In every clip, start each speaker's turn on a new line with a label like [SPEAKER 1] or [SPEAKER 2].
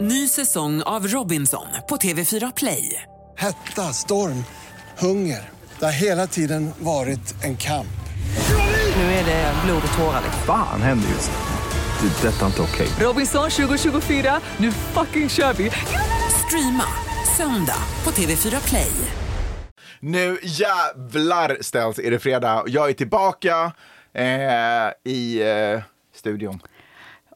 [SPEAKER 1] Ny säsong av Robinson på TV4 Play.
[SPEAKER 2] Hetta, storm, hunger. Det har hela tiden varit en kamp.
[SPEAKER 1] Nu är det blod och tårar. liksom.
[SPEAKER 3] Fan händer just nu. Det. är Detta är inte okej.
[SPEAKER 1] Robinson 2024, nu fucking kör vi! Streama söndag på TV4 Play.
[SPEAKER 4] Nu jävlar ställs är det fredag. Jag är tillbaka eh, i eh, studion.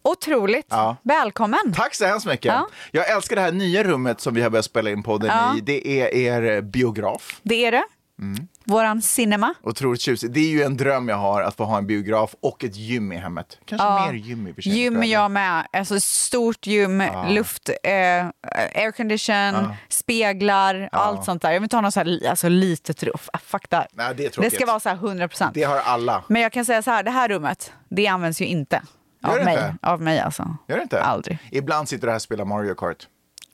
[SPEAKER 5] Otroligt.
[SPEAKER 4] Ja.
[SPEAKER 5] Välkommen.
[SPEAKER 4] Tack så hemskt mycket.
[SPEAKER 5] Ja.
[SPEAKER 4] Jag älskar det här nya rummet som vi har börjat spela in podden
[SPEAKER 5] Ja.
[SPEAKER 4] i. Det är er biograf.
[SPEAKER 5] Det är det.
[SPEAKER 4] Mm.
[SPEAKER 5] Våran cinema.
[SPEAKER 4] Otroligt tjusigt. Det är ju en dröm jag har att få ha en biograf och ett gym i hemmet. Kanske mer gym i och för sig.
[SPEAKER 5] Gym är jag med. Alltså stort gym, luft, eh, aircondition, speglar, allt sånt där. Jag vill inte ha något så här, li- alltså, litet ruff. Ah, fuck that.
[SPEAKER 4] Nej, det är
[SPEAKER 5] det
[SPEAKER 4] tråkigt.
[SPEAKER 5] ska vara så här 100 procent.
[SPEAKER 4] Det har alla.
[SPEAKER 5] Men jag kan säga så här, det här rummet, det används ju inte.
[SPEAKER 4] Gör
[SPEAKER 5] Av
[SPEAKER 4] det
[SPEAKER 5] mig.
[SPEAKER 4] inte?
[SPEAKER 5] Av mig alltså.
[SPEAKER 4] Gör det inte?
[SPEAKER 5] Aldrig.
[SPEAKER 4] Ibland sitter du här och spelar Mario Kart.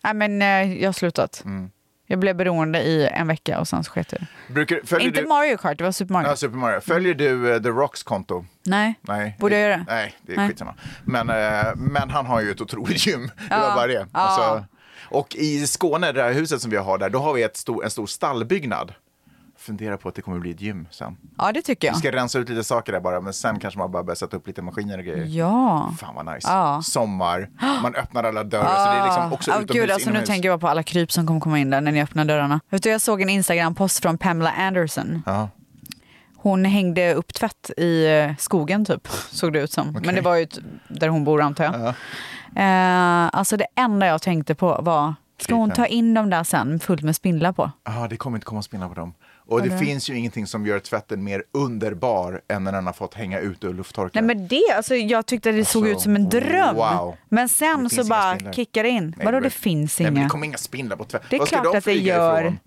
[SPEAKER 5] Nej men eh, jag har slutat.
[SPEAKER 4] Mm.
[SPEAKER 5] Jag blev beroende i en vecka och sen så sket jag ur.
[SPEAKER 4] Brukar, följer
[SPEAKER 5] Inte
[SPEAKER 4] du...
[SPEAKER 5] Mario Kart, det var Super Mario.
[SPEAKER 4] Ja, Super Mario. Följer du eh, The Rocks konto?
[SPEAKER 5] Nej.
[SPEAKER 4] Nej.
[SPEAKER 5] Borde jag göra det?
[SPEAKER 4] Nej, det är
[SPEAKER 5] Nej.
[SPEAKER 4] skitsamma. Men, eh, men han har ju ett otroligt gym. Det var bara det. Alltså, och i Skåne, det här huset som vi har där, då har vi ett stor, en stor stallbyggnad. Fundera på att det kommer bli ett gym sen.
[SPEAKER 5] Ja det tycker jag.
[SPEAKER 4] Vi ska rensa ut lite saker där bara, men sen kanske man bara börjar sätta upp lite maskiner och grejer.
[SPEAKER 5] Ja.
[SPEAKER 4] Fan vad nice.
[SPEAKER 5] Ja.
[SPEAKER 4] Sommar, man öppnar alla dörrar så det är liksom också
[SPEAKER 5] Åh,
[SPEAKER 4] utomhus,
[SPEAKER 5] gud, alltså, nu
[SPEAKER 4] inomhus.
[SPEAKER 5] tänker jag bara på alla kryp som kommer komma in där när ni öppnar dörrarna. Vet du, jag såg en Instagram-post från Pamela Anderson.
[SPEAKER 4] Ja.
[SPEAKER 5] Hon hängde upp tvätt i eh, skogen typ, såg det ut som. Men det var ju t- där hon bor antar jag. Eh, alltså det enda jag tänkte på var, ska hon ta in dem där sen fullt med spindlar på?
[SPEAKER 4] Ja, det kommer inte komma spinna på dem. Och det finns ju ingenting som gör tvätten mer underbar än när den har fått hänga ut ur lufttorkaren.
[SPEAKER 5] Nej men det, alltså jag tyckte det såg
[SPEAKER 4] Alltså,
[SPEAKER 5] ut som en dröm.
[SPEAKER 4] wow.
[SPEAKER 5] Men
[SPEAKER 4] Det
[SPEAKER 5] sen
[SPEAKER 4] finns
[SPEAKER 5] så
[SPEAKER 4] inga
[SPEAKER 5] bara
[SPEAKER 4] spindlar.
[SPEAKER 5] kickade det in.
[SPEAKER 4] Nej,
[SPEAKER 5] Vadå
[SPEAKER 4] men-
[SPEAKER 5] det finns
[SPEAKER 4] Nej, men
[SPEAKER 5] inga?
[SPEAKER 4] det kommer inga spindlar på tvätt.
[SPEAKER 5] Det är
[SPEAKER 4] Var ska
[SPEAKER 5] klart
[SPEAKER 4] de
[SPEAKER 5] att det
[SPEAKER 4] flyga
[SPEAKER 5] gör.
[SPEAKER 4] ifrån?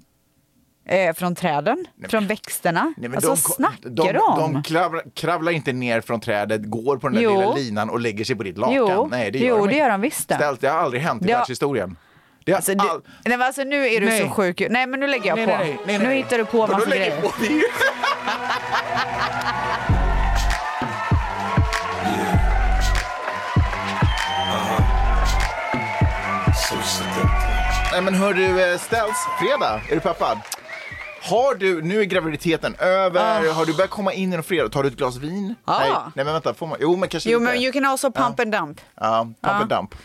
[SPEAKER 5] Eh, från träden?
[SPEAKER 4] men-
[SPEAKER 5] Från växterna?
[SPEAKER 4] Nej, men
[SPEAKER 5] alltså
[SPEAKER 4] de,
[SPEAKER 5] vad snackar
[SPEAKER 4] de,
[SPEAKER 5] du om?
[SPEAKER 4] de kravlar, kravlar inte ner från trädet, går på den där
[SPEAKER 5] Jo.
[SPEAKER 4] lilla linan och lägger sig på ditt lakan.
[SPEAKER 5] Jo.
[SPEAKER 4] Nej, det
[SPEAKER 5] Jo,
[SPEAKER 4] gör de
[SPEAKER 5] det
[SPEAKER 4] inte.
[SPEAKER 5] gör de visst det.
[SPEAKER 4] Ställt, det har aldrig hänt i
[SPEAKER 5] Det har-
[SPEAKER 4] världshistorien. Det har
[SPEAKER 5] Alltså, du,
[SPEAKER 4] all...
[SPEAKER 5] nej, men alltså nu är du
[SPEAKER 4] Nej.
[SPEAKER 5] så sjuk. Nej men nu lägger jag
[SPEAKER 4] Nej,
[SPEAKER 5] på.
[SPEAKER 4] nej, nej, nej,
[SPEAKER 5] nu
[SPEAKER 4] nej.
[SPEAKER 5] hittar du på
[SPEAKER 4] Vadå
[SPEAKER 5] massa
[SPEAKER 4] lägger
[SPEAKER 5] grejer.
[SPEAKER 4] på? Det är ju- Nej men hör du, eh, ställs fredag, är du peppad? Har du, nu är graviditeten över,
[SPEAKER 5] Ah.
[SPEAKER 4] har du börjat komma in i en fredag? Tar du ett glas vin?
[SPEAKER 5] Ja.
[SPEAKER 4] Nej, nej men vänta, får man? Jo men kanske
[SPEAKER 5] Ah. Jo
[SPEAKER 4] lite.
[SPEAKER 5] men you can Ah. also pump and dump.
[SPEAKER 4] Ja, pump and dump.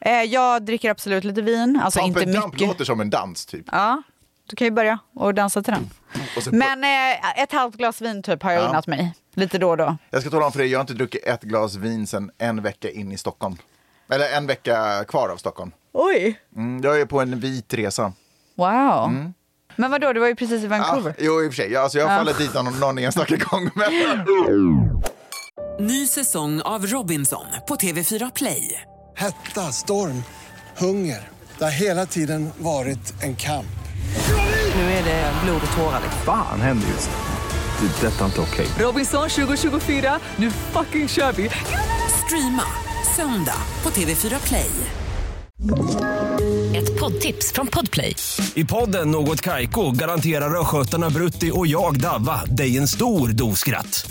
[SPEAKER 5] Eh, jag dricker absolut lite vin, alltså
[SPEAKER 4] pump and
[SPEAKER 5] inte
[SPEAKER 4] dump
[SPEAKER 5] mycket.
[SPEAKER 4] låter som en dans typ.
[SPEAKER 5] Ja, du kan ju börja och dansa till den.
[SPEAKER 4] Och sen-
[SPEAKER 5] Men eh, ett halvt glas vin typ har jag unnat mig. Lite då och då.
[SPEAKER 4] Jag ska tala om för dig, jag har inte druckit ett glas vin sedan en vecka in i Stockholm. Eller en vecka kvar av Stockholm.
[SPEAKER 5] Oj!
[SPEAKER 4] Mm, jag är på en vit resa.
[SPEAKER 5] Wow. Men vadå, du var ju precis i
[SPEAKER 4] Mm. Ah,
[SPEAKER 5] Vancouver.
[SPEAKER 4] jo, i och för sig. Jag- Alltså, jag har fallit dit någon, någon enstaka gång. Men...
[SPEAKER 1] Ny säsong av Robinson på TV4 Play.
[SPEAKER 2] Hetta, storm, hunger. Det har hela tiden varit en kamp.
[SPEAKER 1] Nu är det blod och tårar.
[SPEAKER 3] Fan händer just nu. Det. är Detta är inte okej.
[SPEAKER 1] Robinson 2024, nu fucking kör vi! Streama söndag på TV4 Play.
[SPEAKER 6] Ett poddtips från Podplay.
[SPEAKER 7] I podden Något Kaiko garanterar östgötarna Brutti och jag, Davva, dig en stor dos skratt.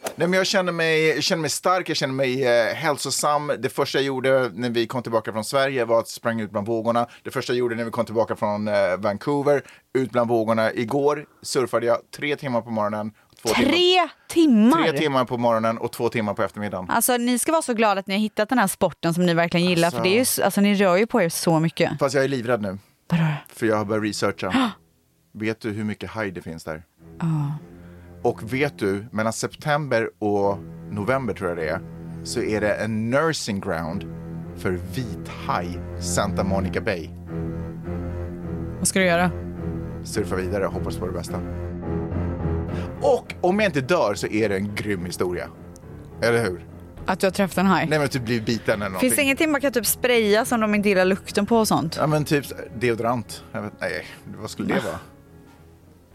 [SPEAKER 4] Nej, men jag, känner mig, jag känner mig stark, jag känner mig eh, hälsosam. Det första jag gjorde när vi kom tillbaka från Sverige var att sprang ut bland vågorna. Det första jag gjorde när vi kom tillbaka från eh, Vancouver, ut bland vågorna. Igår surfade jag tre timmar på morgonen. Två timmar,
[SPEAKER 5] Tre timmar!
[SPEAKER 4] tre timmar på morgonen och två timmar på eftermiddagen.
[SPEAKER 5] Alltså ni ska vara så glada att ni har hittat den här sporten som ni verkligen gillar. För det är ju, s- alltså ni rör ju på er så mycket.
[SPEAKER 4] Fast jag är livrädd nu,
[SPEAKER 5] Vadå?
[SPEAKER 4] för jag har börjat researcha. vet du hur mycket haj det finns där? Och vet du, mellan september och november tror jag det är, så är det en nursing ground för vit haj, Santa Monica Bay.
[SPEAKER 5] Vad ska du göra?
[SPEAKER 4] Surfa vidare, hoppas på det bästa. Och om jag inte dör så är det en grym historia. Eller hur?
[SPEAKER 5] Att du har träffat en haj?
[SPEAKER 4] Nej men typ bli biten eller någonting.
[SPEAKER 5] Finns det ingenting man kan typ spraya som de inte gillar lukten på och sånt?
[SPEAKER 4] Ja men typ deodorant. Jag vet, nej, vad skulle det vara?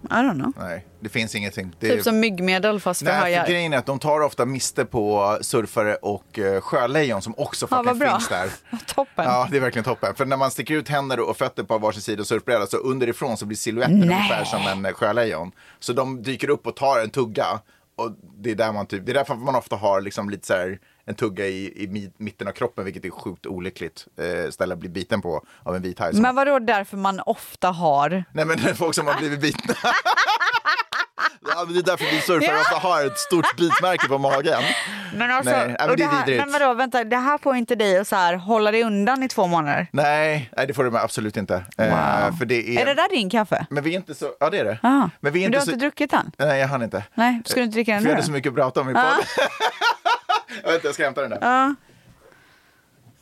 [SPEAKER 5] I don't know.
[SPEAKER 4] Nej, det finns ingenting. Det
[SPEAKER 5] Typ som myggmedel fast för
[SPEAKER 4] Nej,
[SPEAKER 5] hajar.
[SPEAKER 4] för grejen är att de tar ofta miste på surfare och eh, sjölejon som också
[SPEAKER 5] Ja, vad
[SPEAKER 4] fucking
[SPEAKER 5] bra.
[SPEAKER 4] finns där.
[SPEAKER 5] Vad Toppen.
[SPEAKER 4] Ja, det är verkligen toppen. För när man sticker ut händer och fötter på varsin sida och surfbräda så underifrån så blir siluetten
[SPEAKER 5] Nej.
[SPEAKER 4] ungefär som en eh, sjölejon. Så de dyker upp och tar en tugga. Och det är, där man typ, det är därför man ofta har liksom lite så här en tugga i, i mi- mitten av kroppen, vilket är sjukt olyckligt eh, ställe att bli biten på av en vit haj. som-
[SPEAKER 5] Men vadå därför man ofta har?
[SPEAKER 4] Nej men det är folk som har blivit bitna. ja, men det är därför vi surfare ofta har ett stort bitmärke på magen.
[SPEAKER 5] Men alltså,
[SPEAKER 4] Nej, nej, men
[SPEAKER 5] och
[SPEAKER 4] det är
[SPEAKER 5] här,
[SPEAKER 4] vidrigt.
[SPEAKER 5] men vadå, vänta, det här får inte dig att så här, hålla dig undan i två månader.
[SPEAKER 4] Nej, nej det får du absolut inte. Eh, för det är...
[SPEAKER 5] Är det där din kaffe?
[SPEAKER 4] Men vi är inte så... Ja det är det.
[SPEAKER 5] Ah.
[SPEAKER 4] Mm. Men vi är
[SPEAKER 5] du
[SPEAKER 4] inte
[SPEAKER 5] har
[SPEAKER 4] så...
[SPEAKER 5] inte druckit den?
[SPEAKER 4] Nej jag hann inte.
[SPEAKER 5] Nej, ska du inte dricka den
[SPEAKER 4] För
[SPEAKER 5] nu?
[SPEAKER 4] jag hade så
[SPEAKER 5] då? Ah.
[SPEAKER 4] mycket att prata om i podden. Vänta jag ska hämta den där.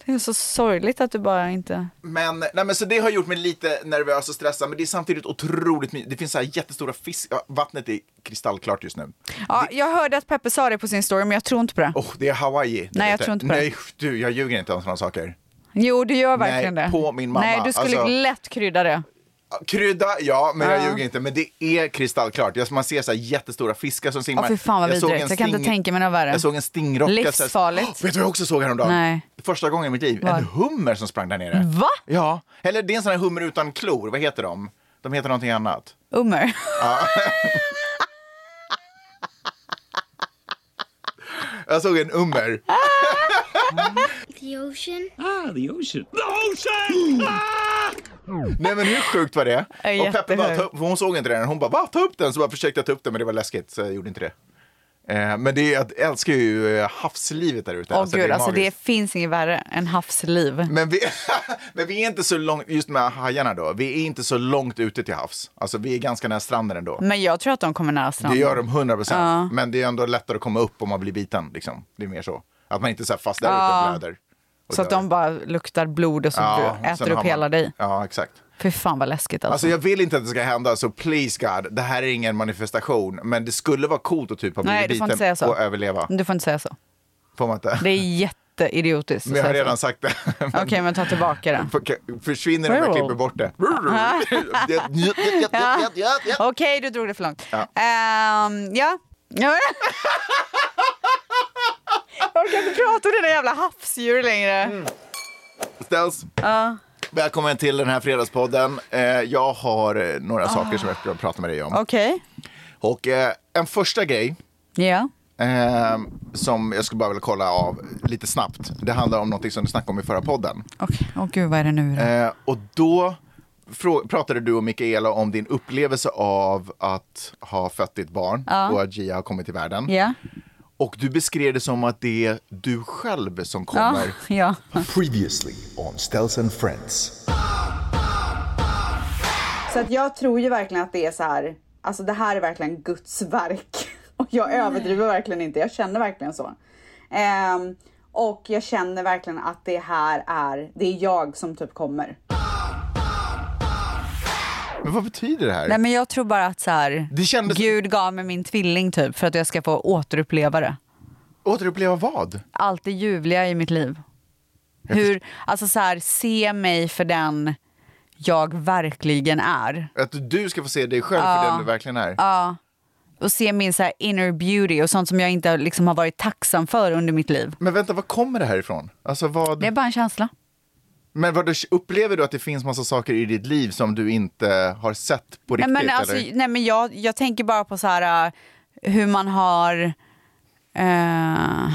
[SPEAKER 5] Det är så sorgligt att du bara inte...
[SPEAKER 4] Men, nej, men så det har gjort mig lite nervös och stressad. Men det är samtidigt otroligt mysigt. Det finns så här jättestora fisk... Ja, vattnet är kristallklart just nu.
[SPEAKER 5] Ja, jag hörde att Peppe sa det på sin story, men jag tror inte på det.
[SPEAKER 4] Åh, det är Hawaii.
[SPEAKER 5] Nej, jag
[SPEAKER 4] vet
[SPEAKER 5] tror inte på det.
[SPEAKER 4] Nej, du, jag ljuger inte om sådana saker.
[SPEAKER 5] Jo, du gör verkligen
[SPEAKER 4] Nej,
[SPEAKER 5] det.
[SPEAKER 4] på min mamma.
[SPEAKER 5] Nej, du skulle
[SPEAKER 4] Alltså-
[SPEAKER 5] lätt krydda det.
[SPEAKER 4] Krydda, ja, men jag ljuger inte. Men det är kristallklart. Jag- Man ser så här jättestora fiskar som simmar.
[SPEAKER 5] Åh, fy fan vad
[SPEAKER 4] såg
[SPEAKER 5] vidrigt.
[SPEAKER 4] en
[SPEAKER 5] Jag kan inte tänka mig något värre.
[SPEAKER 4] Jag såg en stingrocka. Så här,
[SPEAKER 5] Livsfarligt.
[SPEAKER 4] Åh, vet du vad jag också såg häromdagen?
[SPEAKER 5] Nej.
[SPEAKER 4] Första gången i mitt liv.
[SPEAKER 5] Vad?
[SPEAKER 4] En hummer som sprang där nere.
[SPEAKER 5] Va?
[SPEAKER 4] Ja. Eller det är en sån här hummer utan klor. Vad heter de? De heter någonting annat.
[SPEAKER 5] Ummer.
[SPEAKER 4] Jag såg en hummer.
[SPEAKER 6] The ocean?
[SPEAKER 4] Nej men hur sjukt var det?
[SPEAKER 5] Ja,
[SPEAKER 4] Och Peppe bara,
[SPEAKER 5] jättesjukt.
[SPEAKER 4] ta upp, för hon såg inte den. Hon bara, va? Ta upp den. Så bara försökte jag ta upp den men det var läskigt så jag gjorde inte det. Eh, Men det är, jag älskar ju eh, havslivet där ute.
[SPEAKER 5] Åh gud, alltså
[SPEAKER 4] magiskt.
[SPEAKER 5] det finns inget värre än havsliv.
[SPEAKER 4] Men vi, men vi är inte så långt, just med hajarna då, vi är inte så långt ute till havs. Alltså vi är ganska nära stranden ändå.
[SPEAKER 5] Men jag tror att de kommer nära
[SPEAKER 4] Det
[SPEAKER 5] stranden.
[SPEAKER 4] gör de 100 procent. Men det är ändå lättare att komma upp om man blir biten. Liksom. Det är mer så. Att man inte så här fastnar
[SPEAKER 5] Ja.
[SPEAKER 4] ute och blöder. och
[SPEAKER 5] Så att
[SPEAKER 4] dör.
[SPEAKER 5] de bara luktar blod och så
[SPEAKER 4] Ja,
[SPEAKER 5] du
[SPEAKER 4] sen
[SPEAKER 5] äter
[SPEAKER 4] har
[SPEAKER 5] upp
[SPEAKER 4] man-
[SPEAKER 5] hela dig.
[SPEAKER 4] Ja, exakt.
[SPEAKER 5] Fy fan vad läskigt alltså.
[SPEAKER 4] Alltså jag vill inte att det ska hända, så please God, det här är ingen manifestation. Men det skulle vara coolt att typ ha blivit
[SPEAKER 5] Nej, du får inte säga
[SPEAKER 4] biten
[SPEAKER 5] så.
[SPEAKER 4] och överleva.
[SPEAKER 5] Du får inte säga så.
[SPEAKER 4] Får man inte?
[SPEAKER 5] Det är jätteidiotiskt. att
[SPEAKER 4] Men jag har
[SPEAKER 5] säga så.
[SPEAKER 4] redan sagt det. Men-
[SPEAKER 5] Okej, men ta tillbaka det.
[SPEAKER 4] Försvinner det om jag klipper bort det?
[SPEAKER 5] Okej, du drog det för långt. Ehm, ja. Ja. Jag orkar inte prata om dina jävla havsdjur längre.
[SPEAKER 4] Ställs. Välkommen till den här fredagspodden. Eh, Jag har eh, några saker som jag ska prata med dig om.
[SPEAKER 5] Okej.
[SPEAKER 4] Och eh, en första grej
[SPEAKER 5] Ja.
[SPEAKER 4] eh, som jag skulle bara vilja kolla av lite snabbt. Det handlar om någonting som du snackade om i förra podden.
[SPEAKER 5] Okej. Åh gud, vad är det nu då?
[SPEAKER 4] Eh, Och då frå- pratade du och Mikaela om din upplevelse av att ha fött ditt barn och att Gia har kommit till världen.
[SPEAKER 5] Ja.
[SPEAKER 4] Och du beskrev det som att det är du själv som kommer.
[SPEAKER 5] Ja.
[SPEAKER 8] Previously on Stels and Friends.
[SPEAKER 5] Så att jag tror ju verkligen att det är så här, alltså det här är verkligen Guds verk. Och jag överdriver verkligen inte, jag känner verkligen så. Ehm, och jag känner verkligen att det här är, det är jag som typ kommer.
[SPEAKER 4] Men vad betyder det här?
[SPEAKER 5] Nej men jag tror bara att så här,
[SPEAKER 4] Det kändes-
[SPEAKER 5] Gud gav mig min tvilling typ för att jag ska få återuppleva det.
[SPEAKER 4] Återuppleva vad?
[SPEAKER 5] Allt det ljuvliga i mitt liv. Hur, alltså så här, se mig för den jag verkligen är.
[SPEAKER 4] Att du ska få se dig själv för den du verkligen är.
[SPEAKER 5] Och se min så här inner beauty och sånt som jag inte liksom har varit tacksam för under mitt liv.
[SPEAKER 4] Men vänta, var kommer det här ifrån? Alltså vad...
[SPEAKER 5] Det är bara en känsla.
[SPEAKER 4] Men vad du, upplever du att det finns massa saker i ditt liv som du inte har sett på
[SPEAKER 5] Nej
[SPEAKER 4] riktigt?
[SPEAKER 5] men, alltså,
[SPEAKER 4] eller?
[SPEAKER 5] nej, men jag, jag tänker bara på så här, äh, hur man har... eh,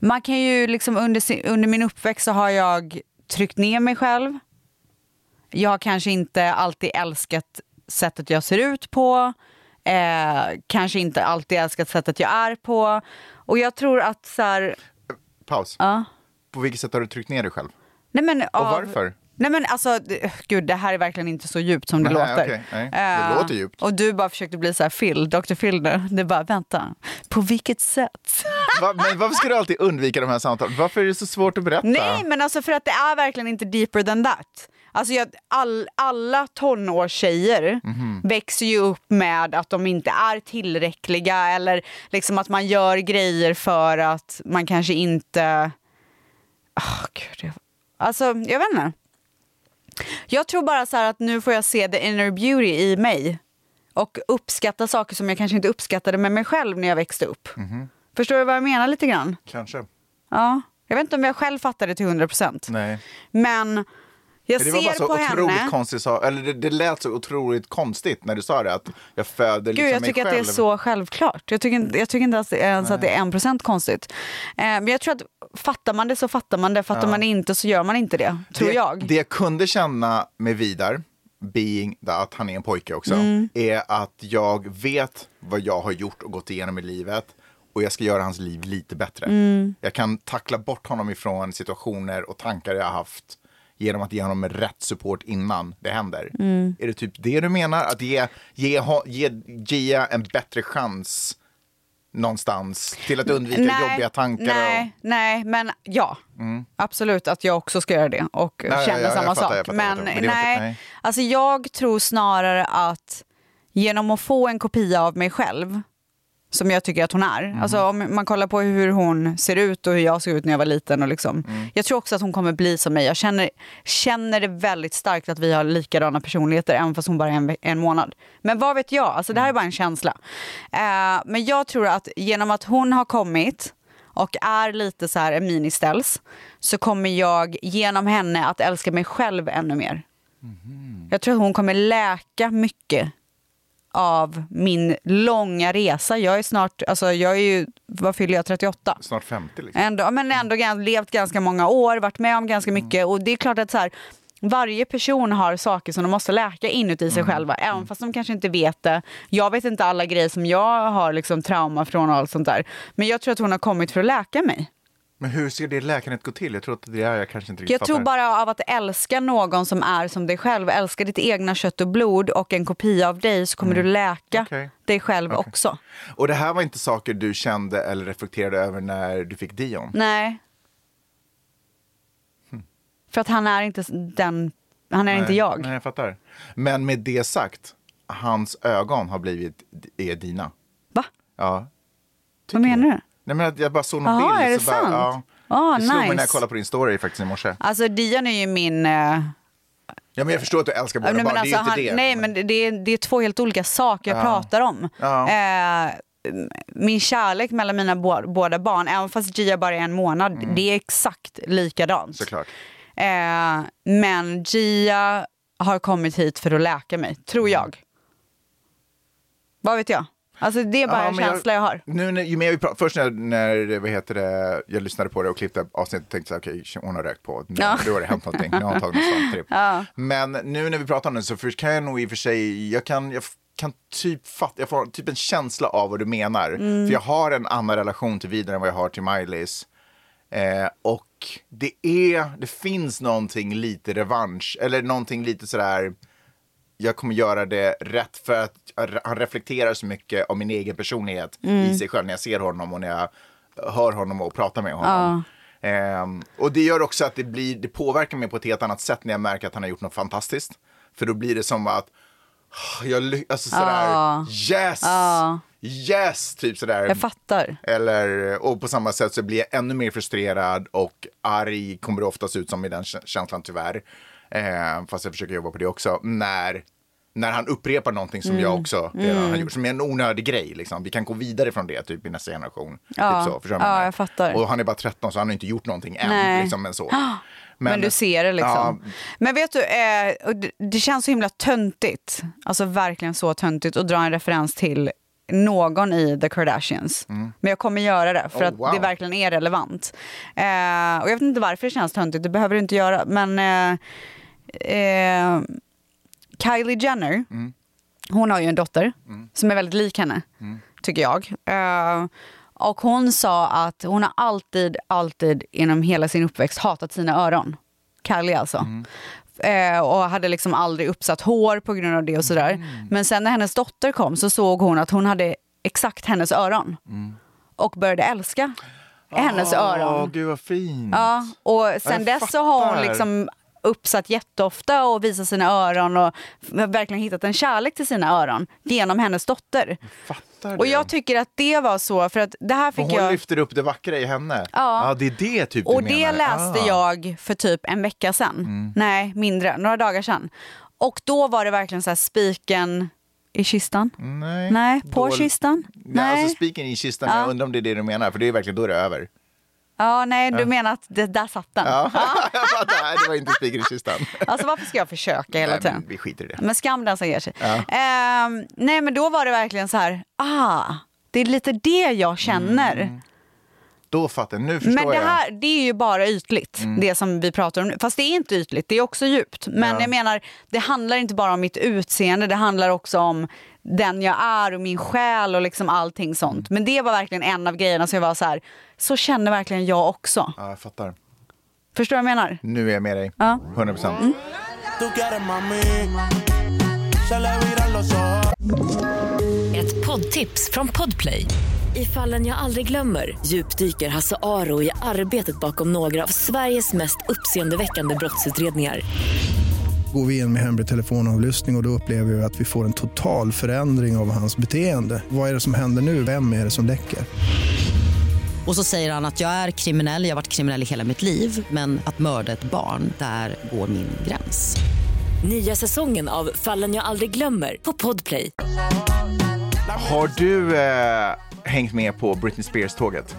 [SPEAKER 5] man kan ju liksom under, sin- under min uppväxt så har jag tryckt ner mig själv. Jag har kanske inte alltid älskat sättet jag ser ut på. Eh, kanske inte alltid älskat sättet jag är på. Och jag tror att så här...
[SPEAKER 4] Paus. På vilket sätt har du tryckt ner dig själv?
[SPEAKER 5] Nej, men av,
[SPEAKER 4] varför?
[SPEAKER 5] Nej men alltså, det- gud det här är verkligen inte så djupt som det
[SPEAKER 4] Nej,
[SPEAKER 5] låter.
[SPEAKER 4] okej, nej. Det
[SPEAKER 5] Eh,
[SPEAKER 4] låter djupt.
[SPEAKER 5] Och du bara försökte bli så här Phil, Dr Phil nu. Det är bara, vänta, på vilket sätt?
[SPEAKER 4] Va, men varför ska du alltid undvika de här samtalen? Varför är det så svårt att berätta?
[SPEAKER 5] Nej men alltså för att det är verkligen inte deeper than that. Alltså jag, all, alla tonårstjejer växer ju upp med att de inte är tillräckliga eller liksom att man gör grejer för att man kanske inte... ah gud, jag... Alltså jag vet inte. Jag tror bara så här att nu får jag se the inner beauty i mig och uppskatta saker som jag kanske inte uppskattade med mig själv när jag växte upp. Förstår du vad jag menar lite grann?
[SPEAKER 4] Kanske.
[SPEAKER 5] Ja. Jag vet inte om jag själv fattade det till 100 procent.
[SPEAKER 4] Nej.
[SPEAKER 5] Men jag
[SPEAKER 4] Det var bara
[SPEAKER 5] ser
[SPEAKER 4] så
[SPEAKER 5] på
[SPEAKER 4] otroligt
[SPEAKER 5] henne.
[SPEAKER 4] konstigt, sa- eller det, det lät så otroligt konstigt när du sa det, att jag föder liksom
[SPEAKER 5] Gud, jag tycker
[SPEAKER 4] mig
[SPEAKER 5] att det
[SPEAKER 4] själv.
[SPEAKER 5] är så självklart. Jag tycker, inte- jag tycker inte ens, ens att det är en procent konstigt. Eh, men jag tror att fattar man det så fattar man det. Fattar man det inte så gör man inte det. Tror
[SPEAKER 4] det,
[SPEAKER 5] jag.
[SPEAKER 4] Det jag kunde känna med Vidar, being that, att han är en pojke också,
[SPEAKER 5] Mm.
[SPEAKER 4] är att jag vet vad jag har gjort och gått igenom i livet och jag ska göra hans liv lite bättre.
[SPEAKER 5] Mm.
[SPEAKER 4] Jag kan tackla bort honom ifrån situationer och tankar jag har haft genom att ge honom rätt support innan det händer.
[SPEAKER 5] Mm.
[SPEAKER 4] Är det typ det du menar? Att ge, ge, ho- ge Gia en bättre chans någonstans till att undvika jobbiga tankar? Mm.
[SPEAKER 5] Nej, nej, men ja. Absolut att jag också ska göra det och
[SPEAKER 4] ja,
[SPEAKER 5] känner
[SPEAKER 4] ja, jag
[SPEAKER 5] samma
[SPEAKER 4] fattar,
[SPEAKER 5] sak.
[SPEAKER 4] jag fattar,
[SPEAKER 5] men
[SPEAKER 4] jag fattar. Men det var
[SPEAKER 5] nej,
[SPEAKER 4] inte- nej.
[SPEAKER 5] alltså jag tror snarare att genom att få en kopia av mig själv som jag tycker att hon är. Alltså om man kollar på hur hon ser ut och hur jag såg ut när jag var liten. Och liksom. Jag tror också att hon kommer bli som mig. Jag känner, känner det väldigt starkt att vi har likadana personligheter även fast hon bara är en, ve- en månad. Men vad vet jag? Alltså, det här är bara en känsla. Eh, men jag tror att genom att hon har kommit och är lite så här en mini-ställs så kommer jag genom henne att älska mig själv ännu mer. Jag tror att hon kommer läka mycket av min långa resa. Jag är snart, alltså jag är ju, vad fyller jag, 38?
[SPEAKER 4] Snart 50 liksom.
[SPEAKER 5] Ändå, men ändå gans- levt ganska många år, varit med om ganska mycket och det är klart att så här, varje person har saker som de måste läka inuti sig själva, även fast de kanske inte vet det. Jag vet inte alla grejer som jag har liksom trauma från och allt sånt där. Men jag tror att hon har kommit för att läka mig.
[SPEAKER 4] Men hur ska det läkandet gå till? Jag tror att det är jag kanske inte riktigt
[SPEAKER 5] Jag tror
[SPEAKER 4] fattar.
[SPEAKER 5] bara av att älska någon som är som dig själv, älska ditt egna kött och blod och en kopia av dig så kommer du läka
[SPEAKER 4] Mm. Okej.
[SPEAKER 5] dig själv också.
[SPEAKER 4] Och det här var inte saker du kände eller reflekterade över när du fick Dion?
[SPEAKER 5] Nej. För att han är inte den, han är inte jag.
[SPEAKER 4] Hm. Nej, jag fattar. Men med det sagt, hans ögon har blivit är dina.
[SPEAKER 5] Va?
[SPEAKER 4] Ja.
[SPEAKER 5] Vad menar du?
[SPEAKER 4] Nej, men att jag bara såg någon
[SPEAKER 5] Jaha,
[SPEAKER 4] bild.
[SPEAKER 5] är det
[SPEAKER 4] så bara,
[SPEAKER 5] sant?
[SPEAKER 4] Ja.
[SPEAKER 5] Ah,
[SPEAKER 4] det slog mig när
[SPEAKER 5] nice.
[SPEAKER 4] jag kollade på din story faktiskt i morse.
[SPEAKER 5] Alltså Dion är ju min... eh,
[SPEAKER 4] Ja, men jag förstår att du älskar båda
[SPEAKER 5] nej,
[SPEAKER 4] barn,
[SPEAKER 5] men alltså,
[SPEAKER 4] det är ju
[SPEAKER 5] han,
[SPEAKER 4] inte det.
[SPEAKER 5] Nej, men det, det är, det är två helt olika saker jag pratar om.
[SPEAKER 4] Ja.
[SPEAKER 5] Eh, min kärlek mellan mina bå- båda barn, även fast Gia bara är en månad, det är exakt likadant.
[SPEAKER 4] Mm. Såklart.
[SPEAKER 5] Eh, men Gia har kommit hit för att läka mig,
[SPEAKER 4] Mm.
[SPEAKER 5] tror jag. Vad vet jag? Alltså det är bara
[SPEAKER 4] Ja,
[SPEAKER 5] en
[SPEAKER 4] men jag-
[SPEAKER 5] känsla jag, har.
[SPEAKER 4] Nu när, ju mer vi pratar, först när, när vad heter det, jag lyssnade på det och klippte avsnittet tänkte jag okej, hon har rökt på, nu,
[SPEAKER 5] Ja.
[SPEAKER 4] nu har det hänt någonting, nu har hon tagit en sån tripp. Men nu när vi pratar om det så för, kan jag nog i och för sig, jag kan, jag f- kan typ fatta, jag får typ en känsla av vad du menar.
[SPEAKER 5] Mm.
[SPEAKER 4] För jag har en annan relation till Vidar än vad jag har till Miley's. Eh, och det är, det finns någonting lite revansch, eller någonting lite sådär, jag kommer göra det rätt för att han reflekterar så mycket av min egen personlighet i sig själv när jag ser honom och när jag hör honom och pratar med honom. Ehm, och det gör också att det, blir, det påverkar mig på ett helt annat sätt när jag märker att han har gjort något fantastiskt. För då blir det som att, "Ah, jag, ly- alltså sådär, yes, yes, typ sådär.
[SPEAKER 5] Jag fattar.
[SPEAKER 4] Eller, och på samma sätt så blir jag ännu mer frustrerad och arg kommer det oftast ut som i den kä- känslan tyvärr. Eh, fast jag försöker jobba på det också. När, när han upprepar någonting som
[SPEAKER 5] Mm,
[SPEAKER 4] jag också redan har gjort. Som är en onödig grej. Liksom. Vi kan gå vidare från det typ i nästa generation.
[SPEAKER 5] Ja.
[SPEAKER 4] typ så, förstår du vad
[SPEAKER 5] Ja,
[SPEAKER 4] menar?
[SPEAKER 5] jag fattar.
[SPEAKER 4] Och han är bara 13 så han har inte gjort någonting än.
[SPEAKER 5] Nej.
[SPEAKER 4] Liksom, än så.
[SPEAKER 5] Men, du ser det liksom.
[SPEAKER 4] Ja,
[SPEAKER 5] Men vet du, eh, och det- det känns så himla töntigt, alltså verkligen så töntigt att dra en referens till någon i The Kardashians. Men jag kommer göra det för
[SPEAKER 4] Mm. Oh,
[SPEAKER 5] att
[SPEAKER 4] wow.
[SPEAKER 5] det verkligen är relevant. Eh, och jag vet inte varför det känns töntigt, det behöver du inte göra. Men eh, eh, Kylie
[SPEAKER 4] Mm.
[SPEAKER 5] Jenner, hon har ju en dotter som är väldigt lik henne, tycker jag. Eh, och hon sa att hon har alltid, alltid inom hela sin uppväxt hatat sina öron. Kylie alltså. Eh, och hade liksom aldrig uppsatt hår på grund av det och sådär. Men sen när hennes dotter kom så såg hon att hon hade exakt hennes öron. Och började älska hennes
[SPEAKER 4] Åh,
[SPEAKER 5] öron.
[SPEAKER 4] gud vad fint.
[SPEAKER 5] Ja, och
[SPEAKER 4] Ja,
[SPEAKER 5] sen
[SPEAKER 4] jag
[SPEAKER 5] dess så har hon
[SPEAKER 4] fattar.
[SPEAKER 5] liksom uppsatt jätteofta och visar sina öron och har verkligen hittat en kärlek till sina öron genom hennes dotter.
[SPEAKER 4] Fattar du?
[SPEAKER 5] Och jag tycker att det var så, för att det här
[SPEAKER 4] Och
[SPEAKER 5] fick
[SPEAKER 4] hon
[SPEAKER 5] jag...
[SPEAKER 4] lyfter upp det vackra i henne.
[SPEAKER 5] Ja.
[SPEAKER 4] ah, det är det typ
[SPEAKER 5] Och
[SPEAKER 4] du
[SPEAKER 5] det
[SPEAKER 4] menar.
[SPEAKER 5] läste
[SPEAKER 4] ah. Mm.
[SPEAKER 5] jag för typ en vecka sedan. Nej, mindre. Några dagar sedan. Och då var det verkligen så här spiken i kistan.
[SPEAKER 4] Nej.
[SPEAKER 5] Nej, på
[SPEAKER 4] Dål-
[SPEAKER 5] kistan.
[SPEAKER 4] Nej.
[SPEAKER 5] Nej.
[SPEAKER 4] Alltså spiken i kistan, jag undrar om det är det du menar, för det är verkligen då är det över.
[SPEAKER 5] Ja, nej, du menar att det, där satt den.
[SPEAKER 4] Ja. jag fattar, nej, det var inte spiken i kistan.
[SPEAKER 5] Alltså varför ska jag försöka hela
[SPEAKER 4] Nej,
[SPEAKER 5] tiden?
[SPEAKER 4] men vi skiter i det.
[SPEAKER 5] Men skam den som ger sig. Ehm, nej men då var det verkligen så här, ah, det är lite det jag känner.
[SPEAKER 4] Då fattar jag, nu Mm, förstår
[SPEAKER 5] Men det
[SPEAKER 4] jag. Mm.
[SPEAKER 5] här, det är ju bara ytligt, det som vi pratar om nu. Fast det är inte ytligt, det är också djupt. Men jag menar, det handlar inte bara om mitt utseende, det handlar också om den jag är och min själ och liksom allting sånt.
[SPEAKER 4] Mm.
[SPEAKER 5] Men det var verkligen en av grejerna som jag var så här, så känner verkligen jag också.
[SPEAKER 4] Ja, jag fattar.
[SPEAKER 5] Förstår du vad jag menar?
[SPEAKER 4] Nu är jag med dig.
[SPEAKER 5] Ja. Mm.
[SPEAKER 4] 100 procent.
[SPEAKER 9] Ett poddtips från Podplay. I fallen jag aldrig glömmer djupdyker Hasse Aro i arbetet bakom några av Sveriges mest uppseendeväckande brottsutredningar.
[SPEAKER 10] Går vi in med hemlig telefonavlyssning och, och då upplever vi att vi får en total förändring av hans beteende. Vad är det som händer nu? Vem är det som läcker?
[SPEAKER 9] Och så säger han att jag är kriminell, jag har varit kriminell i hela mitt liv men att mörda ett barn, där går min gräns. Nya säsongen av Fallen jag aldrig glömmer på Podplay.
[SPEAKER 4] Har du eh, hängt med på Britney Spears-tåget?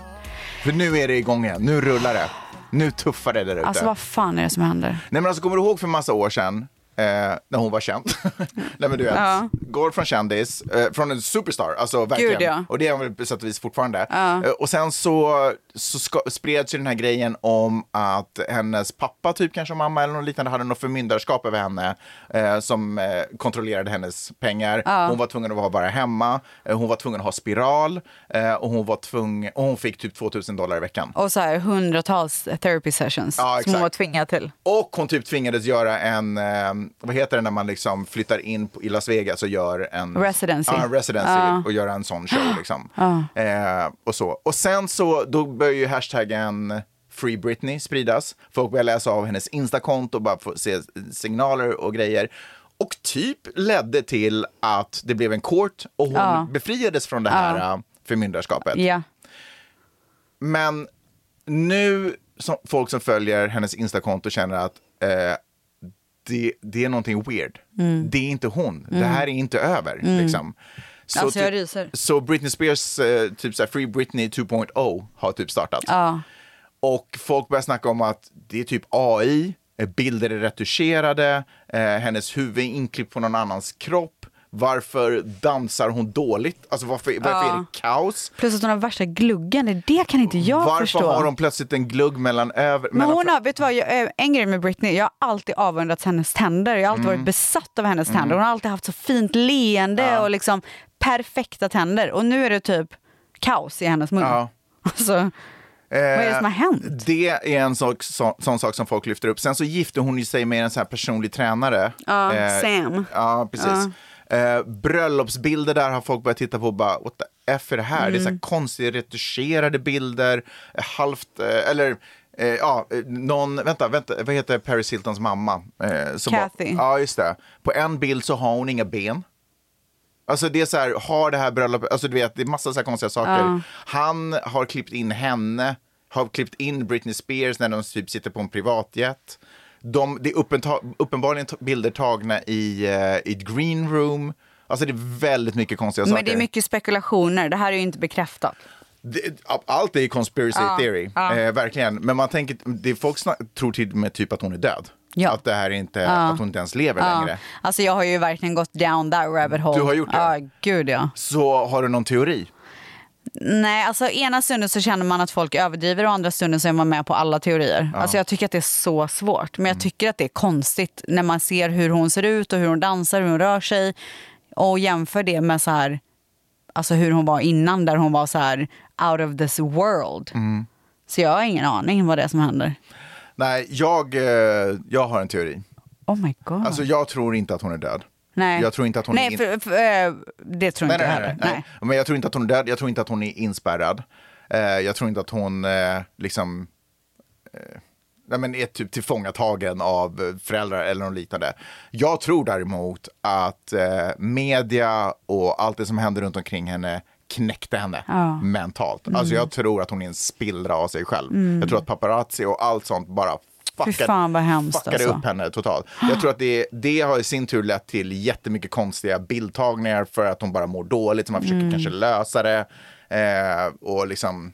[SPEAKER 4] För nu är det igång igen, nu rullar det. Nu tuffar det där ute.
[SPEAKER 5] Alltså vad fan är det som händer?
[SPEAKER 4] Nej men alltså kommer du ihåg för massa år sedan eh, när hon var känd? Nej men du vet,
[SPEAKER 5] Ja.
[SPEAKER 4] går från kändis, eh, från en superstar, alltså verkligen.
[SPEAKER 5] Gud, ja.
[SPEAKER 4] Och det är hon väl på sätt och vis fortfarande. Eh, och sen så, så ska, spreds ju den här grejen om att hennes pappa, typ kanske mamma eller något liknande, hade något förmyndarskap över henne eh, som eh, kontrollerade hennes pengar. Hon var tvungen att vara bara hemma, eh, hon var tvungen att ha spiral eh, och, hon var tvung, och hon fick typ 2000 dollar i veckan.
[SPEAKER 5] Och så här hundratals therapy sessions
[SPEAKER 4] Ja,
[SPEAKER 5] som
[SPEAKER 4] exakt.
[SPEAKER 5] hon var tvingad till.
[SPEAKER 4] Och hon typ tvingades göra en, eh, vad heter det när man liksom flyttar in på, i Las Vegas och gör en
[SPEAKER 5] Residency.
[SPEAKER 4] Ja, en residency
[SPEAKER 5] Ja.
[SPEAKER 4] och göra en sån show liksom. Eh, och så. Och sen så, då börjar ju hashtaggen Free Britney spridas. Folk börjar läsa av hennes Instakonto och bara få se signaler och grejer. Och typ ledde till att det blev en court och hon befriades från det här eh, förmyndarskapet.
[SPEAKER 5] Ja.
[SPEAKER 4] Men nu, som, folk som följer hennes Instakonto känner att eh, det, det är någonting weird.
[SPEAKER 5] Mm.
[SPEAKER 4] Det är inte hon. Det här är inte över. Liksom. Så,
[SPEAKER 5] Alltså, jag
[SPEAKER 4] typ-
[SPEAKER 5] ryser.
[SPEAKER 4] så Britney Spears, eh, typ så här, Free Britney 2.0 har typ startat. Och folk börjar snacka om att det är typ AI, eh, bilder är retuscherade, eh, hennes huvud är inklippt på någon annans kropp. Varför dansar hon dåligt? Alltså varför, varför är det kaos?
[SPEAKER 5] Plus att hon har värsta gluggen, det kan inte jag
[SPEAKER 4] Varför
[SPEAKER 5] förstå.
[SPEAKER 4] har hon plötsligt en glugg mellan över...
[SPEAKER 5] Men
[SPEAKER 4] mellan
[SPEAKER 5] hon har, vet du vad, jag, eh, en grej med Britney, jag har alltid avundats hennes tänder. Jag har alltid
[SPEAKER 4] Mm.
[SPEAKER 5] varit besatt av hennes tänder. Hon har alltid haft så fint leende och liksom perfekta tänder. Och nu är det typ kaos i hennes mun.
[SPEAKER 4] Ja.
[SPEAKER 5] Alltså, vad är det som har hänt?
[SPEAKER 4] Eh, Det är en sak, så, sån sak som folk lyfter upp. Sen så gifte hon ju sig med en sån här personlig tränare. Eh,
[SPEAKER 5] Ja, Sam.
[SPEAKER 4] Ja, precis. Eh, bröllopsbilder där har folk börjat titta på och bara, what the F är det här? Det är så
[SPEAKER 5] Mm.
[SPEAKER 4] här konstiga retuscherade bilder, eh, halvt, eh, eller eh, Ja, eh, någon, vänta, vänta, vad heter Paris Hiltons mamma? Eh, som var-
[SPEAKER 5] Kathy.
[SPEAKER 4] ja, just det. På en bild så har hon inga ben. Alltså det är så här, har det här bröllopet, alltså du vet, det är massa så här konstiga saker. Han har klippt in henne, har klippt in Britney Spears när de typ sitter på en privatjet. De, det är uppenta- uppenbarligen ta- bilder tagna i, eh, i ett green room. Alltså det är väldigt mycket konstiga saker.
[SPEAKER 5] Men det är mycket spekulationer, det här är ju inte bekräftat.
[SPEAKER 4] Det- allt är ju conspiracy theory, Eh, verkligen. Men man tänker, det är folk snak- tror till och med typ att hon är död.
[SPEAKER 5] Ja.
[SPEAKER 4] Att det här är inte, att hon inte ens lever längre.
[SPEAKER 5] Alltså jag har ju verkligen gått down that rabbit hole.
[SPEAKER 4] Du har gjort det?
[SPEAKER 5] Ja, gud ja.
[SPEAKER 4] Så har du någon teori?
[SPEAKER 5] Nej, alltså ena stunden så känner man att folk överdriver och andra stunden så är man med på alla teorier. Alltså jag tycker att det är så svårt. Men
[SPEAKER 4] Mm.
[SPEAKER 5] jag tycker att det är konstigt när man ser hur hon ser ut och hur hon dansar, hur hon rör sig och jämför det med så här, alltså hur hon var innan där hon var så här out of this world.
[SPEAKER 4] Mm.
[SPEAKER 5] Så jag har ingen aning vad det är som händer.
[SPEAKER 4] Nej, jag, eh, jag har en teori.
[SPEAKER 5] Oh my god.
[SPEAKER 4] Alltså jag tror inte att hon är död.
[SPEAKER 5] nej.
[SPEAKER 4] jag tror inte att hon är
[SPEAKER 5] nej,
[SPEAKER 4] in-
[SPEAKER 5] för, för, eh, det tror
[SPEAKER 4] Nej,
[SPEAKER 5] inte jag
[SPEAKER 4] nej,
[SPEAKER 5] heller.
[SPEAKER 4] nej, nej. Men jag tror inte att hon är död, jag tror inte att hon är inspärrad. Eh, jag tror inte att hon eh, liksom eh, nej, men är typ tillfångatagen av föräldrar eller något liknande. Jag tror däremot att eh, media och allt det som hände runt omkring henne knäckte henne
[SPEAKER 5] Ja.
[SPEAKER 4] mentalt.
[SPEAKER 5] Mm.
[SPEAKER 4] Alltså jag tror att hon är en spillra av sig själv.
[SPEAKER 5] Mm.
[SPEAKER 4] Jag tror att paparazzi och allt sånt bara
[SPEAKER 5] Fy
[SPEAKER 4] fuckade,
[SPEAKER 5] fan vad hemskt
[SPEAKER 4] fuckade
[SPEAKER 5] alltså.
[SPEAKER 4] upp henne totalt. Jag tror att det, det har i sin tur lett till jättemycket konstiga bildtagningar för att hon bara mår dåligt, så man försöker
[SPEAKER 5] Mm.
[SPEAKER 4] kanske lösa det. Eh, och liksom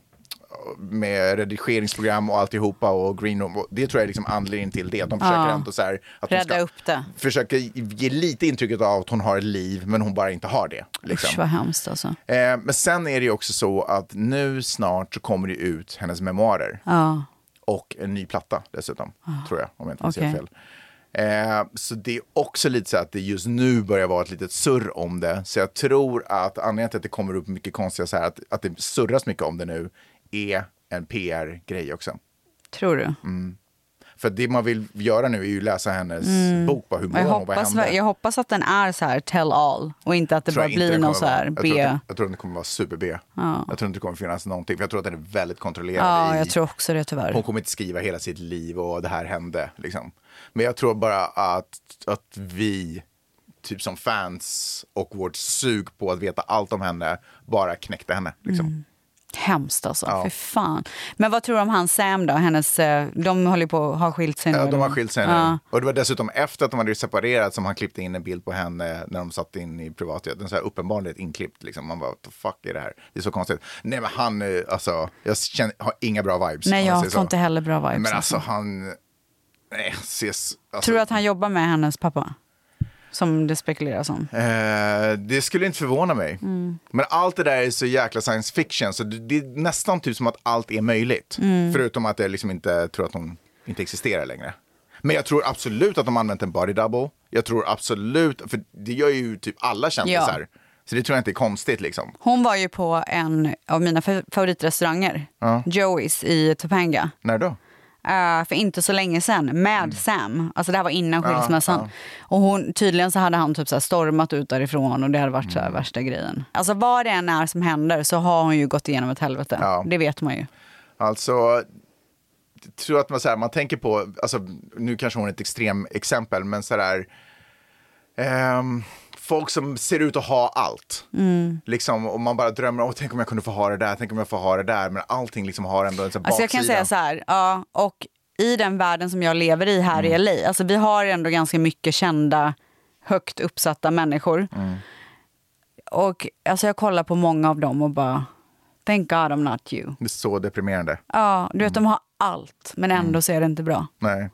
[SPEAKER 4] med redigeringsprogram och alltihopa och greenroom. Och det tror jag är liksom anledningen till det. Att de försöker
[SPEAKER 5] Ja.
[SPEAKER 4] ändå så här, att de
[SPEAKER 5] Rädda
[SPEAKER 4] ska,
[SPEAKER 5] upp det.
[SPEAKER 4] försöker ge lite intrycket av att hon har ett liv men hon bara inte har det. Liksom.
[SPEAKER 5] Usch vad hemskt alltså.
[SPEAKER 4] Eh, men sen är det ju också så att nu snart så kommer det ut hennes memoarer
[SPEAKER 5] Ja.
[SPEAKER 4] och en ny platta dessutom,
[SPEAKER 5] Ah,
[SPEAKER 4] tror jag, om jag inte minns
[SPEAKER 5] okej.
[SPEAKER 4] helt fel. Eh, så det är också lite så att det just nu börjar vara ett litet surr om det. Så jag tror att anledningen till att det kommer upp mycket konstiga, så här, att, att det surras mycket om det nu, är en PR-grej också.
[SPEAKER 5] Tror du?
[SPEAKER 4] Mm. För det man vill göra nu är ju läsa hennes
[SPEAKER 5] Mm.
[SPEAKER 4] bok, bara hur mår
[SPEAKER 5] jag,
[SPEAKER 4] hon, vad
[SPEAKER 5] hoppas,
[SPEAKER 4] hände?
[SPEAKER 5] jag hoppas att den är så här tell all och inte att det
[SPEAKER 4] Tror
[SPEAKER 5] bara
[SPEAKER 4] jag inte
[SPEAKER 5] blir
[SPEAKER 4] den
[SPEAKER 5] någon
[SPEAKER 4] kommer
[SPEAKER 5] så här
[SPEAKER 4] vara.
[SPEAKER 5] B.
[SPEAKER 4] Jag tror, att, jag tror att den kommer vara super-B.
[SPEAKER 5] Ja.
[SPEAKER 4] Jag tror inte det kommer finnas någonting, för jag tror att den är väldigt kontrollerad.
[SPEAKER 5] Ja,
[SPEAKER 4] i-
[SPEAKER 5] jag tror också det tyvärr.
[SPEAKER 4] Hon kommer inte skriva hela sitt liv och det här hände. Liksom. Men jag tror bara att, att vi, typ som fans och vårt sug på att veta allt om henne, bara knäckte henne. Liksom.
[SPEAKER 5] Mm. Hemskt alltså,
[SPEAKER 4] Ja.
[SPEAKER 5] för fan. Men vad tror du om han Sam då? Hennes, eh, de håller ju på att ha skilt sig nu.
[SPEAKER 4] Ja, de har
[SPEAKER 5] eller?
[SPEAKER 4] skilt sig nu.
[SPEAKER 5] Ja.
[SPEAKER 4] Och det var dessutom efter att de hade separerat som han klippte in en bild på henne när de satt in i privatjet. Den så här uppenbarligen inklippt. Liksom. Man bara, what the fuck är det här? Det är så konstigt. Nej men han, eh, alltså, jag känner, har inga bra vibes.
[SPEAKER 5] Nej,
[SPEAKER 4] om
[SPEAKER 5] jag
[SPEAKER 4] säger
[SPEAKER 5] får inte heller bra vibes,
[SPEAKER 4] Men alltså
[SPEAKER 5] alltså.
[SPEAKER 4] han, nej, ses, alltså,
[SPEAKER 5] Tror du att han jobbar med hennes pappa? Som det spekuleras om.
[SPEAKER 4] Eh, det skulle inte förvåna mig.
[SPEAKER 5] Mm.
[SPEAKER 4] Men allt det där är så jäkla science fiction så det, det är nästan typ som att allt är möjligt.
[SPEAKER 5] Mm.
[SPEAKER 4] Förutom att jag liksom inte tror att hon inte existerar längre. Men jag tror absolut att de använt en body double. Jag tror absolut, för det gör ju typ alla kändisar. Så det tror jag inte är konstigt liksom.
[SPEAKER 5] Hon var ju på en av mina fa- favoritrestauranger,
[SPEAKER 4] Ja.
[SPEAKER 5] Joey's i Topanga.
[SPEAKER 4] När då?
[SPEAKER 5] Eh, för inte så länge sedan med Sam. Alltså det här var innan skilsmässan.
[SPEAKER 4] Mm. Ja,
[SPEAKER 5] Och hon, tydligen så hade han typ så här stormat ut därifrån och det hade varit så här
[SPEAKER 4] Mm.
[SPEAKER 5] värsta grejen. Alltså vad det än är som händer så har hon ju gått igenom ett helvete. Det vet man ju.
[SPEAKER 4] Alltså, jag tror att man, så här, man tänker på, alltså, nu kanske hon är ett extrem exempel, men så här, ehm, folk som ser ut att ha allt.
[SPEAKER 5] Mm.
[SPEAKER 4] Liksom, och man bara drömmer, Åh, tänk om jag kunde få ha det där, tänk om jag får ha det där. Men allting liksom har ändå en sån
[SPEAKER 5] Alltså jag
[SPEAKER 4] baksida.
[SPEAKER 5] kan säga så här, ja, och i den världen som jag lever i här
[SPEAKER 4] Mm.
[SPEAKER 5] i LA, alltså vi har ändå ganska mycket kända, högt uppsatta människor.
[SPEAKER 4] Mm.
[SPEAKER 5] Och alltså jag kollar på många av dem och bara, thank God I'm not you.
[SPEAKER 4] Det är så deprimerande.
[SPEAKER 5] Ja, du
[SPEAKER 4] Mm.
[SPEAKER 5] vet de har allt, men ändå så är det inte bra.
[SPEAKER 4] Nej.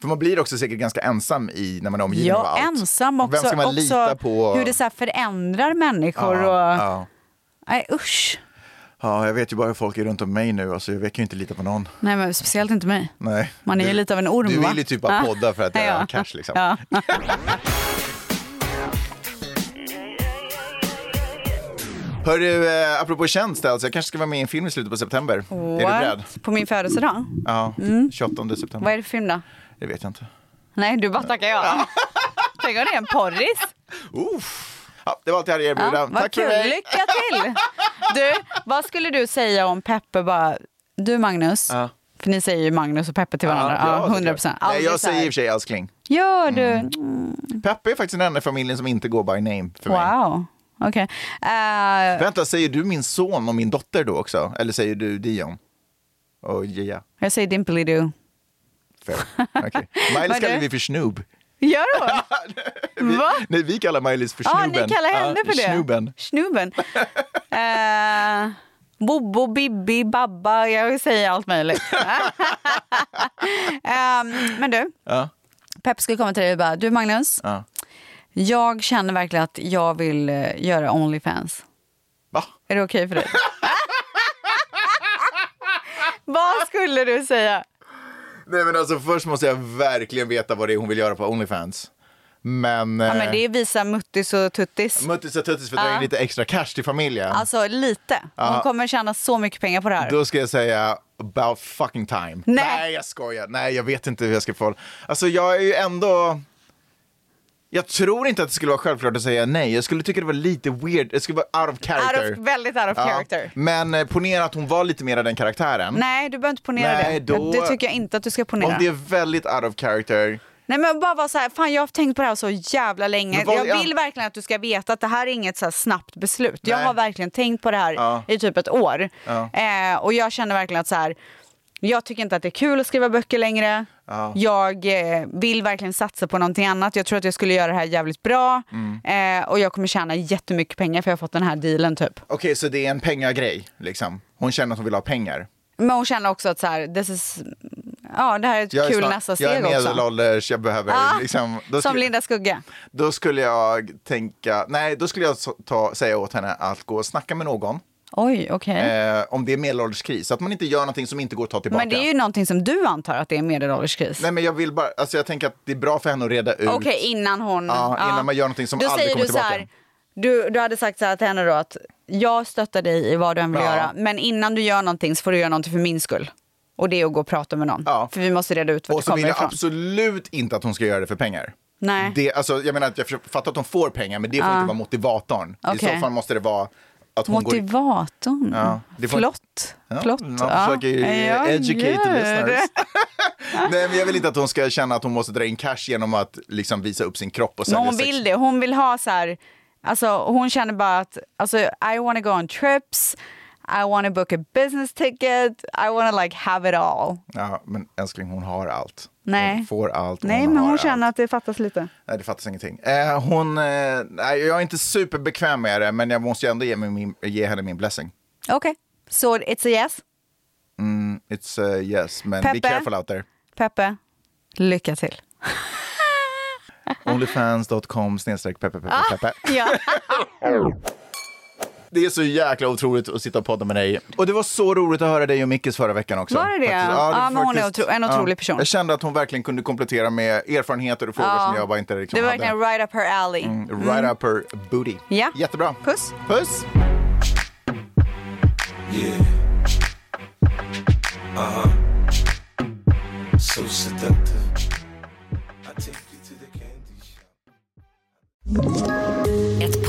[SPEAKER 4] För man blir också säkert ganska ensam i, när man är omgiven av
[SPEAKER 5] Ja,
[SPEAKER 4] allt.
[SPEAKER 5] ensam
[SPEAKER 4] Och
[SPEAKER 5] också.
[SPEAKER 4] Vem ska man
[SPEAKER 5] också
[SPEAKER 4] lita på?
[SPEAKER 5] Hur det så här förändrar människor
[SPEAKER 4] ja,
[SPEAKER 5] och...
[SPEAKER 4] ja.
[SPEAKER 5] Nej usch.
[SPEAKER 4] ja, jag vet ju bara hur folk är runt om mig nu, alltså, jag verkar ju inte lita på någon.
[SPEAKER 5] Nej men speciellt inte mig.
[SPEAKER 4] Nej.
[SPEAKER 5] Man är ju
[SPEAKER 4] Du-
[SPEAKER 5] lite av en orm
[SPEAKER 4] Du
[SPEAKER 5] va?
[SPEAKER 4] vill ju typ bara
[SPEAKER 5] Ja.
[SPEAKER 4] podda för att jag har cash liksom.
[SPEAKER 5] Ja.
[SPEAKER 4] Hörru, eh, apropå tjänst alltså, jag kanske ska vara med i en film i slutet på september. Är du
[SPEAKER 5] What?
[SPEAKER 4] beredd?
[SPEAKER 5] På min födelsedag?
[SPEAKER 4] Ja, 28 september.
[SPEAKER 5] Vad är det för film då?
[SPEAKER 4] Det vet jag inte.
[SPEAKER 5] Nej, du bara tackar ja. Tänk om det är en porris.
[SPEAKER 4] Ja, det var allt jag hade att erbjuda.
[SPEAKER 5] Ja, vad
[SPEAKER 4] Tack
[SPEAKER 5] kul,
[SPEAKER 4] för mig.
[SPEAKER 5] lycka till! Du, vad skulle du säga om Peppe bara, du Magnus,
[SPEAKER 4] Ja.
[SPEAKER 5] för ni säger ju Magnus och Peppe till varandra,
[SPEAKER 4] ja,
[SPEAKER 5] ja,
[SPEAKER 4] såklart.
[SPEAKER 5] 100 procent.
[SPEAKER 4] Nej, jag säger i och för sig älskling.
[SPEAKER 5] Gör du?
[SPEAKER 4] Peppe är faktiskt den enda i familjen som inte går by name för mig.
[SPEAKER 5] Mm. Wow, okej. Eh,
[SPEAKER 4] Vänta, säger du min son och min dotter då också? Eller säger du Dion? Och Gia?
[SPEAKER 5] jag säger Dimpelidoo.
[SPEAKER 4] Fair. Okej. Miley
[SPEAKER 5] Vad
[SPEAKER 4] kallar
[SPEAKER 5] du?
[SPEAKER 4] vi för Snoob.
[SPEAKER 5] Gör hon? Va?
[SPEAKER 4] Nej, vi kallar Miley för
[SPEAKER 5] Ja,
[SPEAKER 4] Snooben.
[SPEAKER 5] ni kallar henne
[SPEAKER 4] Ja,
[SPEAKER 5] för det?
[SPEAKER 4] Snooben.
[SPEAKER 5] Snubben. Eh, Bobo, Bibi, Babba, jag säger allt möjligt. Eh, men du,
[SPEAKER 4] Ja.
[SPEAKER 5] Pepp skulle komma till dig och bara, du Magnus,
[SPEAKER 4] Ja.
[SPEAKER 5] jag känner verkligen att jag vill eh, göra Onlyfans.
[SPEAKER 4] Va?
[SPEAKER 5] Är det okej för dig? Vad skulle du säga?
[SPEAKER 4] Nej, men alltså först måste jag verkligen veta vad det är hon vill göra på Onlyfans. Men... eh,
[SPEAKER 5] Ja, men det är visa muttis och tuttis.
[SPEAKER 4] Muttis och tuttis för att dra
[SPEAKER 5] Ja.
[SPEAKER 4] in lite extra cash till familjen.
[SPEAKER 5] Alltså lite. Hon
[SPEAKER 4] Ja.
[SPEAKER 5] kommer tjäna så mycket pengar på det här.
[SPEAKER 4] Då ska jag säga about fucking time.
[SPEAKER 5] Nej.
[SPEAKER 4] jag skojar. Nej, jag vet inte hur jag ska få. Alltså jag är ju ändå... Jag tror inte att det skulle vara självklart att säga nej. Jag skulle tycka det var lite weird. Det skulle vara out of character.
[SPEAKER 5] Out of, väldigt out of
[SPEAKER 4] Ja.
[SPEAKER 5] character.
[SPEAKER 4] Men eh, ponera att hon var lite mer av den karaktären.
[SPEAKER 5] Nej, du behöver inte ponera
[SPEAKER 4] Nej,
[SPEAKER 5] det.
[SPEAKER 4] då-
[SPEAKER 5] Det tycker jag inte att du ska ponera.
[SPEAKER 4] Om det är väldigt out of character.
[SPEAKER 5] Nej men bara vara så här, fan jag har tänkt på det här så jävla länge.
[SPEAKER 4] Men vad-
[SPEAKER 5] jag
[SPEAKER 4] ja.
[SPEAKER 5] vill verkligen att du ska veta att det här är inget så här snabbt beslut. Jag
[SPEAKER 4] Nej.
[SPEAKER 5] har verkligen tänkt på det här
[SPEAKER 4] Ja.
[SPEAKER 5] i typ ett år.
[SPEAKER 4] Ja.
[SPEAKER 5] Eh, och jag känner verkligen att så här, jag tycker inte att det är kul att skriva böcker längre.
[SPEAKER 4] Ja.
[SPEAKER 5] Jag eh, vill verkligen satsa på någonting annat. Jag tror att jag skulle göra det här jävligt bra.
[SPEAKER 4] Mm.
[SPEAKER 5] Eh, och jag kommer tjäna jättemycket pengar för jag har fått den här dealen typ.
[SPEAKER 4] Okej, så det är en pengagrej. Liksom. Hon känner att hon vill ha pengar.
[SPEAKER 5] Men hon känner också att så här, this is, ja, det här är ett
[SPEAKER 4] Jag är,
[SPEAKER 5] kul
[SPEAKER 4] snar-
[SPEAKER 5] nästa
[SPEAKER 4] jag är
[SPEAKER 5] steg också.
[SPEAKER 4] medelålders, jag behöver
[SPEAKER 5] Ah,
[SPEAKER 4] liksom... Då
[SPEAKER 5] Som
[SPEAKER 4] skulle,
[SPEAKER 5] Linda Skugge.
[SPEAKER 4] då skulle jag tänka... Nej, då skulle jag så- ta, säga åt henne att gå och snacka med någon.
[SPEAKER 5] Oj, okej.
[SPEAKER 4] Eh, om det är medelålderskris, så att man inte gör någonting som inte går att ta tillbaka.
[SPEAKER 5] Men det är ju någonting som du antar att det är en medelålderskris.
[SPEAKER 4] Nej, men jag vill bara... Alltså jag tänker att det är bra för henne att reda ut.
[SPEAKER 5] Okej, innan hon...
[SPEAKER 4] Ja, innan man gör någonting som
[SPEAKER 5] Då
[SPEAKER 4] aldrig
[SPEAKER 5] säger
[SPEAKER 4] kommer
[SPEAKER 5] du så här,
[SPEAKER 4] tillbaka.
[SPEAKER 5] du, du hade sagt så här till henne då att jag stöttar dig i vad du än vill
[SPEAKER 4] Ja.
[SPEAKER 5] göra, men innan du gör någonting så får du göra någonting för min skull. Och det är att gå och prata med någon. För vi måste reda ut vart
[SPEAKER 4] Och
[SPEAKER 5] det
[SPEAKER 4] så vill
[SPEAKER 5] kommer
[SPEAKER 4] jag
[SPEAKER 5] ifrån.
[SPEAKER 4] absolut inte att hon ska göra det för pengar.
[SPEAKER 5] Nej.
[SPEAKER 4] Det, alltså, jag menar att jag försöker- fattar att hon får pengar, men det får
[SPEAKER 5] Ja.
[SPEAKER 4] inte vara motivatorn.
[SPEAKER 5] Okej.
[SPEAKER 4] I så fall måste det vara att hon går... i-
[SPEAKER 5] Motivatorn.
[SPEAKER 4] Ja, det får-
[SPEAKER 5] Flott.
[SPEAKER 4] Ja,
[SPEAKER 5] Flott.
[SPEAKER 4] Man
[SPEAKER 5] Ja.
[SPEAKER 4] försöker ju
[SPEAKER 5] Jag
[SPEAKER 4] educate
[SPEAKER 5] gör
[SPEAKER 4] the
[SPEAKER 5] det.
[SPEAKER 4] listeners. Nej, men jag vill inte att hon ska känna att hon måste dra in cash genom att liksom visa upp sin kropp och
[SPEAKER 5] Men
[SPEAKER 4] sälja
[SPEAKER 5] hon
[SPEAKER 4] sex.
[SPEAKER 5] vill det. Hon vill ha så här... Alltså, hon känner bara att alltså, I wanna go on trips, I wanna book a business ticket, I wanna like have it all.
[SPEAKER 4] Ja, men älskling, hon har allt.
[SPEAKER 5] Nej.
[SPEAKER 4] Hon får allt.
[SPEAKER 5] Nej,
[SPEAKER 4] hon
[SPEAKER 5] men
[SPEAKER 4] har
[SPEAKER 5] hon
[SPEAKER 4] allt.
[SPEAKER 5] känner att det fattas lite.
[SPEAKER 4] Nej, det fattas ingenting. Eh, hon, eh, nej, jag är inte superbekväm med det, men jag måste ju ändå ge, mig min, ge henne min blessing.
[SPEAKER 5] Okej, så it's a yes.
[SPEAKER 4] Mm, it's a yes, men be
[SPEAKER 5] Peppe?
[SPEAKER 4] careful out there.
[SPEAKER 5] Peppe, lycka till.
[SPEAKER 4] Onlyfans.com snedstreck peppe peppe
[SPEAKER 5] Ah!
[SPEAKER 4] peppe.
[SPEAKER 5] Ja.
[SPEAKER 4] Det är så jäkla otroligt att sitta och podda med dig. Och det var så roligt att höra dig och Mickes förra veckan också.
[SPEAKER 5] Var det det?
[SPEAKER 4] Faktiskt.
[SPEAKER 5] Ja,
[SPEAKER 4] var
[SPEAKER 5] men hon är otro- en otrolig person.
[SPEAKER 4] Jag kände att hon verkligen kunde komplettera med erfarenheter och frågor
[SPEAKER 5] Ja.
[SPEAKER 4] som jag bara inte liksom
[SPEAKER 5] det var
[SPEAKER 4] hade.
[SPEAKER 5] verkligen right up her alley.
[SPEAKER 4] Mm, Right up her booty.
[SPEAKER 5] Ja.
[SPEAKER 4] Jättebra.
[SPEAKER 5] Puss.
[SPEAKER 4] Puss!
[SPEAKER 11] So seductive. I take you to the candy shop.
[SPEAKER 9] Ett